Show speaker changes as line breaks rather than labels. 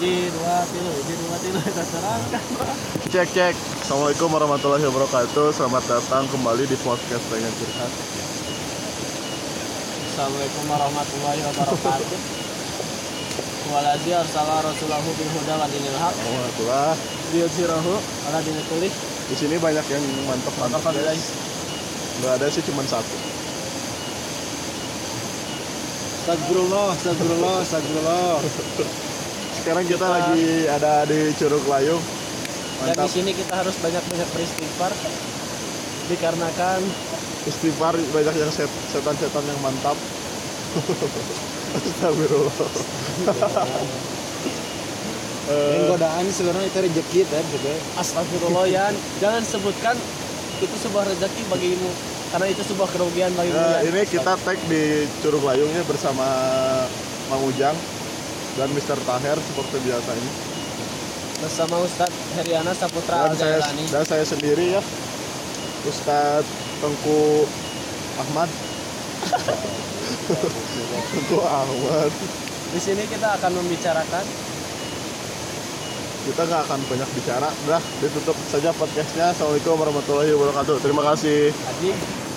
hiji dua tilu hiji dua tilu ya, eta terangkan
Cek cek. Assalamualaikum warahmatullahi wabarakatuh. Selamat datang kembali di podcast pengen curhat.
Assalamualaikum warahmatullahi wabarakatuh Waladzi arsala rasulahu bil huda wa dinil haq
Alhamdulillah.
Iya liyudhirahu ala dinil kulli
Di sini banyak yang mantap mantap
Mantap, guys.
Gak ada sih cuman satu.
astagfirullah astagfirullah astagfirullah
Sekarang kita,
Kita-
lagi ada di Curug Layung.
dan di
Mantap.
sini kita harus banyak-banyak beristighfar dikarenakan
Istighfar banyak yang set- setan-setan yang mantap. Astagfirullah. Eh,
Yang godaan sebenarnya itu rezeki kan juga.
astagfirullah Yan. jangan sebutkan itu sebuah rezeki bagimu karena itu sebuah kerugian bagimu
Nah,
Yan.
ini kita tag di Curug Layungnya bersama Mang Ujang dan Mr. Taher seperti biasanya.
bersama Ustadz Heriana Saputra
Dan saya,
Al-Jailani
dan saya sendiri ya, Ustadz Tengku Ahmad. Tengku Ahmad.
Di sini kita akan membicarakan
Kita nggak akan banyak bicara. Dah, ditutup saja podcastnya. Assalamualaikum warahmatullahi wabarakatuh. Terima kasih.
anjing.